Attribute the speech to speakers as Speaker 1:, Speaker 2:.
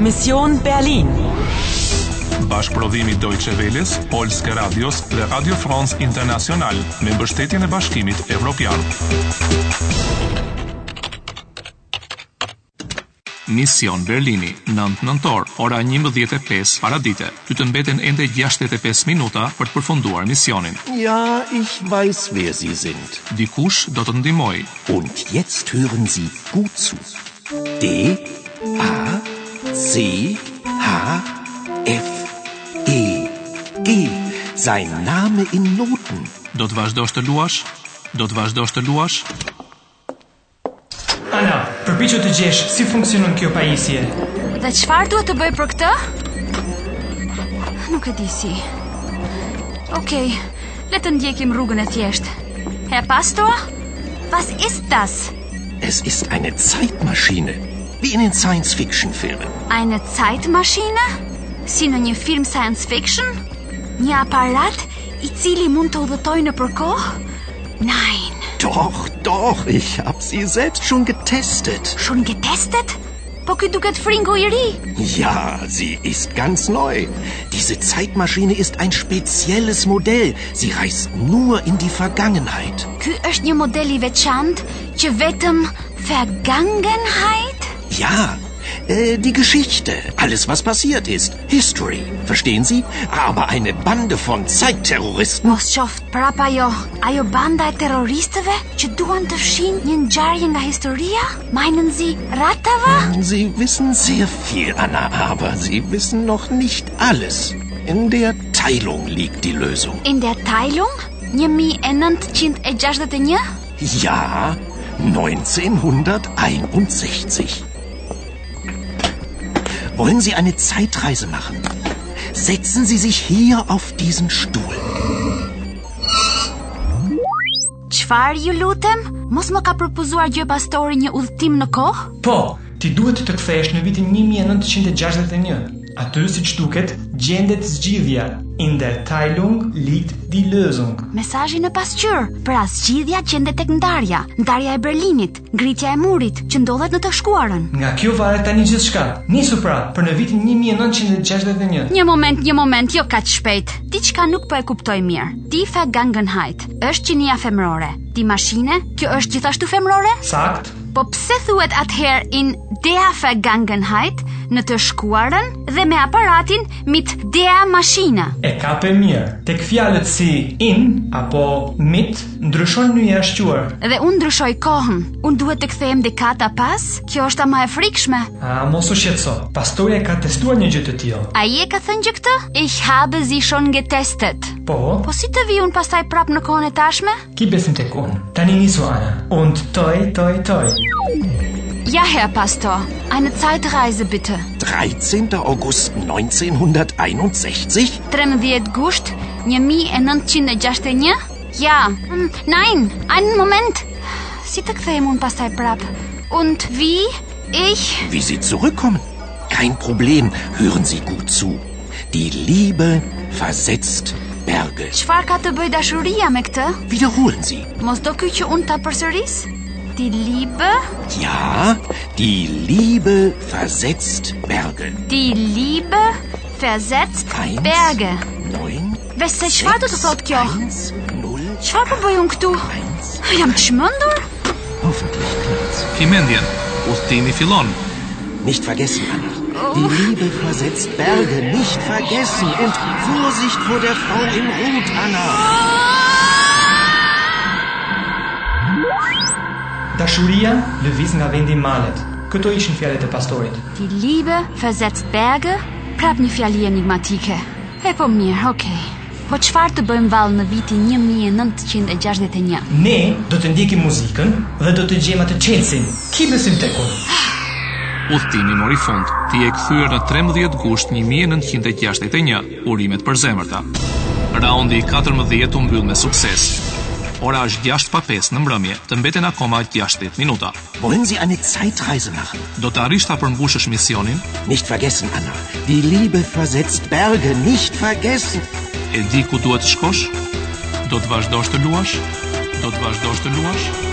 Speaker 1: Mission Berlin.
Speaker 2: Bashkëprodhimi Deutsche Welles, Polske Radios dhe Radio France International me mbështetjen e Bashkimit Evropian. Mision Berlini, 9 nëntor, ora 11:05 paradite. Ty të mbeten ende 65 minuta për të përfunduar misionin.
Speaker 3: Ja, ich weiß, wer Sie sind.
Speaker 2: Dikush do të ndihmojë.
Speaker 3: Und jetzt hören Sie gut zu. D, A, C, H, F, E, G. Sein Name in Noten.
Speaker 2: Do të vazhdosh të luash? Do të vazhdosh të luash?
Speaker 4: Ana, përpiqu të gjesh si funksionon kjo pajisje.
Speaker 5: Dhe qëfar duhet të bëj për këtë? Nuk e di si. Okej, le të ndjekim rrugën e thjeshtë. He pasto? Was ist das?
Speaker 3: Es ist eine Zeitmaschine. Wie in den Science-Fiction-Filmen.
Speaker 5: Eine Zeitmaschine? Si në një film science fiction? Një aparat i cili mund të udhëtoj në përkohë? Nein,
Speaker 3: Doch, doch, ich habe sie selbst schon getestet.
Speaker 5: schon getestet? Po ky duket fringo i ri.
Speaker 3: Ja, sie ist ganz neu. Diese Zeitmaschine ist ein spezielles Modell. Sie reist nur in die Vergangenheit.
Speaker 5: Ky është një model i veçantë që vetëm Vergangenheit?
Speaker 3: Ja, äh, die Geschichte. Alles, was passiert ist. History. Verstehen Sie? Aber eine Bande von Zeitterroristen.
Speaker 5: Mos qoftë prap ajo, ajo banda e terroristëve që duan të fshin një ngjarje nga historia? Meinen Sie Ratava?
Speaker 3: Sie wissen sehr viel, Anna, aber Sie wissen noch nicht alles. In der Teilung liegt die Lösung.
Speaker 5: In der Teilung 1961?
Speaker 3: Ja, 1961. Wollen Sie eine Zeitreise machen? Setzen Sie sich hier auf diesen Stuhl.
Speaker 5: Çfarë ju lutem? Mos më ka propozuar gjë pastori një udhtim në kohë?
Speaker 4: Po, ti duhet të kthehesh në vitin 1961. Aty siç duket, gjendet zgjidhja. In der Teilung liegt die Lösung.
Speaker 5: Mesazhi në pasqyrë, pra zgjidhja gjendet tek ndarja, ndarja e Berlinit, ngritja e murit që ndodhet në të shkuarën.
Speaker 4: Nga kjo varet tani gjithçka. Nisu pra për në vitin 1961.
Speaker 5: Një moment, një moment, jo kaq shpejt. Diçka nuk po e kuptoj mirë. Ti fa Gangenheit është qinia femërore. Ti mashine, kjo është gjithashtu femërore?
Speaker 4: Sakt?
Speaker 5: Po pse thuhet atëherë in der Vergangenheit në të shkuarën dhe me aparatin mit der Maschine?
Speaker 4: E kape mirë. Tek fjalët si in apo mit ndryshon një e shquar.
Speaker 5: Dhe unë ndryshoj kohën. Unë duhet të kthehem dekata pas? Kjo është ama e frikshme.
Speaker 4: A mos u shqetëso. Pastoja ka testuar një gjë të tillë.
Speaker 5: A je ka thënë gjë këtë? Ich habe sie schon getestet.
Speaker 4: Po,
Speaker 5: Po si të vi unë pastaj prap në kohën e tashme?
Speaker 4: ki besim tek unë. Tani nisu Ana. Und toi, toi, toi.
Speaker 5: Ja, Herr Pastor, eine Zeitreise bitte.
Speaker 3: 13. August 1961?
Speaker 5: 13 gusht 1961? Ja, mm, nein, einen Moment. Si të kthejmë unë pastaj prap. Und wie? Ich?
Speaker 3: Wie Sie zurückkommen? Kein Problem, hören Sie gut zu. Die Liebe versetzt Berge.
Speaker 5: Çfarë ka të bëj dashuria me këtë?
Speaker 3: Wiederholen Sie.
Speaker 5: Mos do ky që unë ta përsëris? Die Liebe,
Speaker 3: Ja, die Liebe versetzt Berge.
Speaker 5: die Liebe versetzt
Speaker 3: Eins,
Speaker 5: Berge.
Speaker 3: neun,
Speaker 5: Veste çfarë do të thotë kjo?
Speaker 3: Eins, null,
Speaker 5: Çfarë po bëj unë këtu?
Speaker 3: eins.
Speaker 5: Jam të shmendur?
Speaker 3: Hoffentlich klappt's.
Speaker 2: Kimendjen, udhtimi fillon.
Speaker 3: Nicht vergessen, Anna. Die Liebe versetzt Berge. Nicht vergessen. Und Vorsicht vor der Frau im Rot, Anna.
Speaker 4: Dashuria lëviz nga vendi i malet. Këto ishin fjalët e pastorit.
Speaker 5: Die Liebe versetzt Berge, prap një fjali enigmatike. E po mirë, okej. Po çfarë të bëjmë vallë në vitin 1961?
Speaker 4: Ne do të ndjekim muzikën dhe do të gjejmë atë Chelsea. Ki besim tek unë.
Speaker 2: Udhtimi mori fund. Ti e kthyer në 13 gusht 1961, urimet për zemërta. Raundi i 14 u mbyll me sukses. Ora është 6 pa 5 në mbrëmje, të mbeten akoma 60 minuta.
Speaker 3: Wollen Sie eine Zeitreise machen?
Speaker 2: Do të arrish ta përmbushësh misionin?
Speaker 3: Nicht vergessen, Anna. Die Liebe versetzt Berge. Nicht vergessen.
Speaker 2: E di ku duhet të shkosh? Do të vazhdosh të luash? Do të vazhdosh të luash?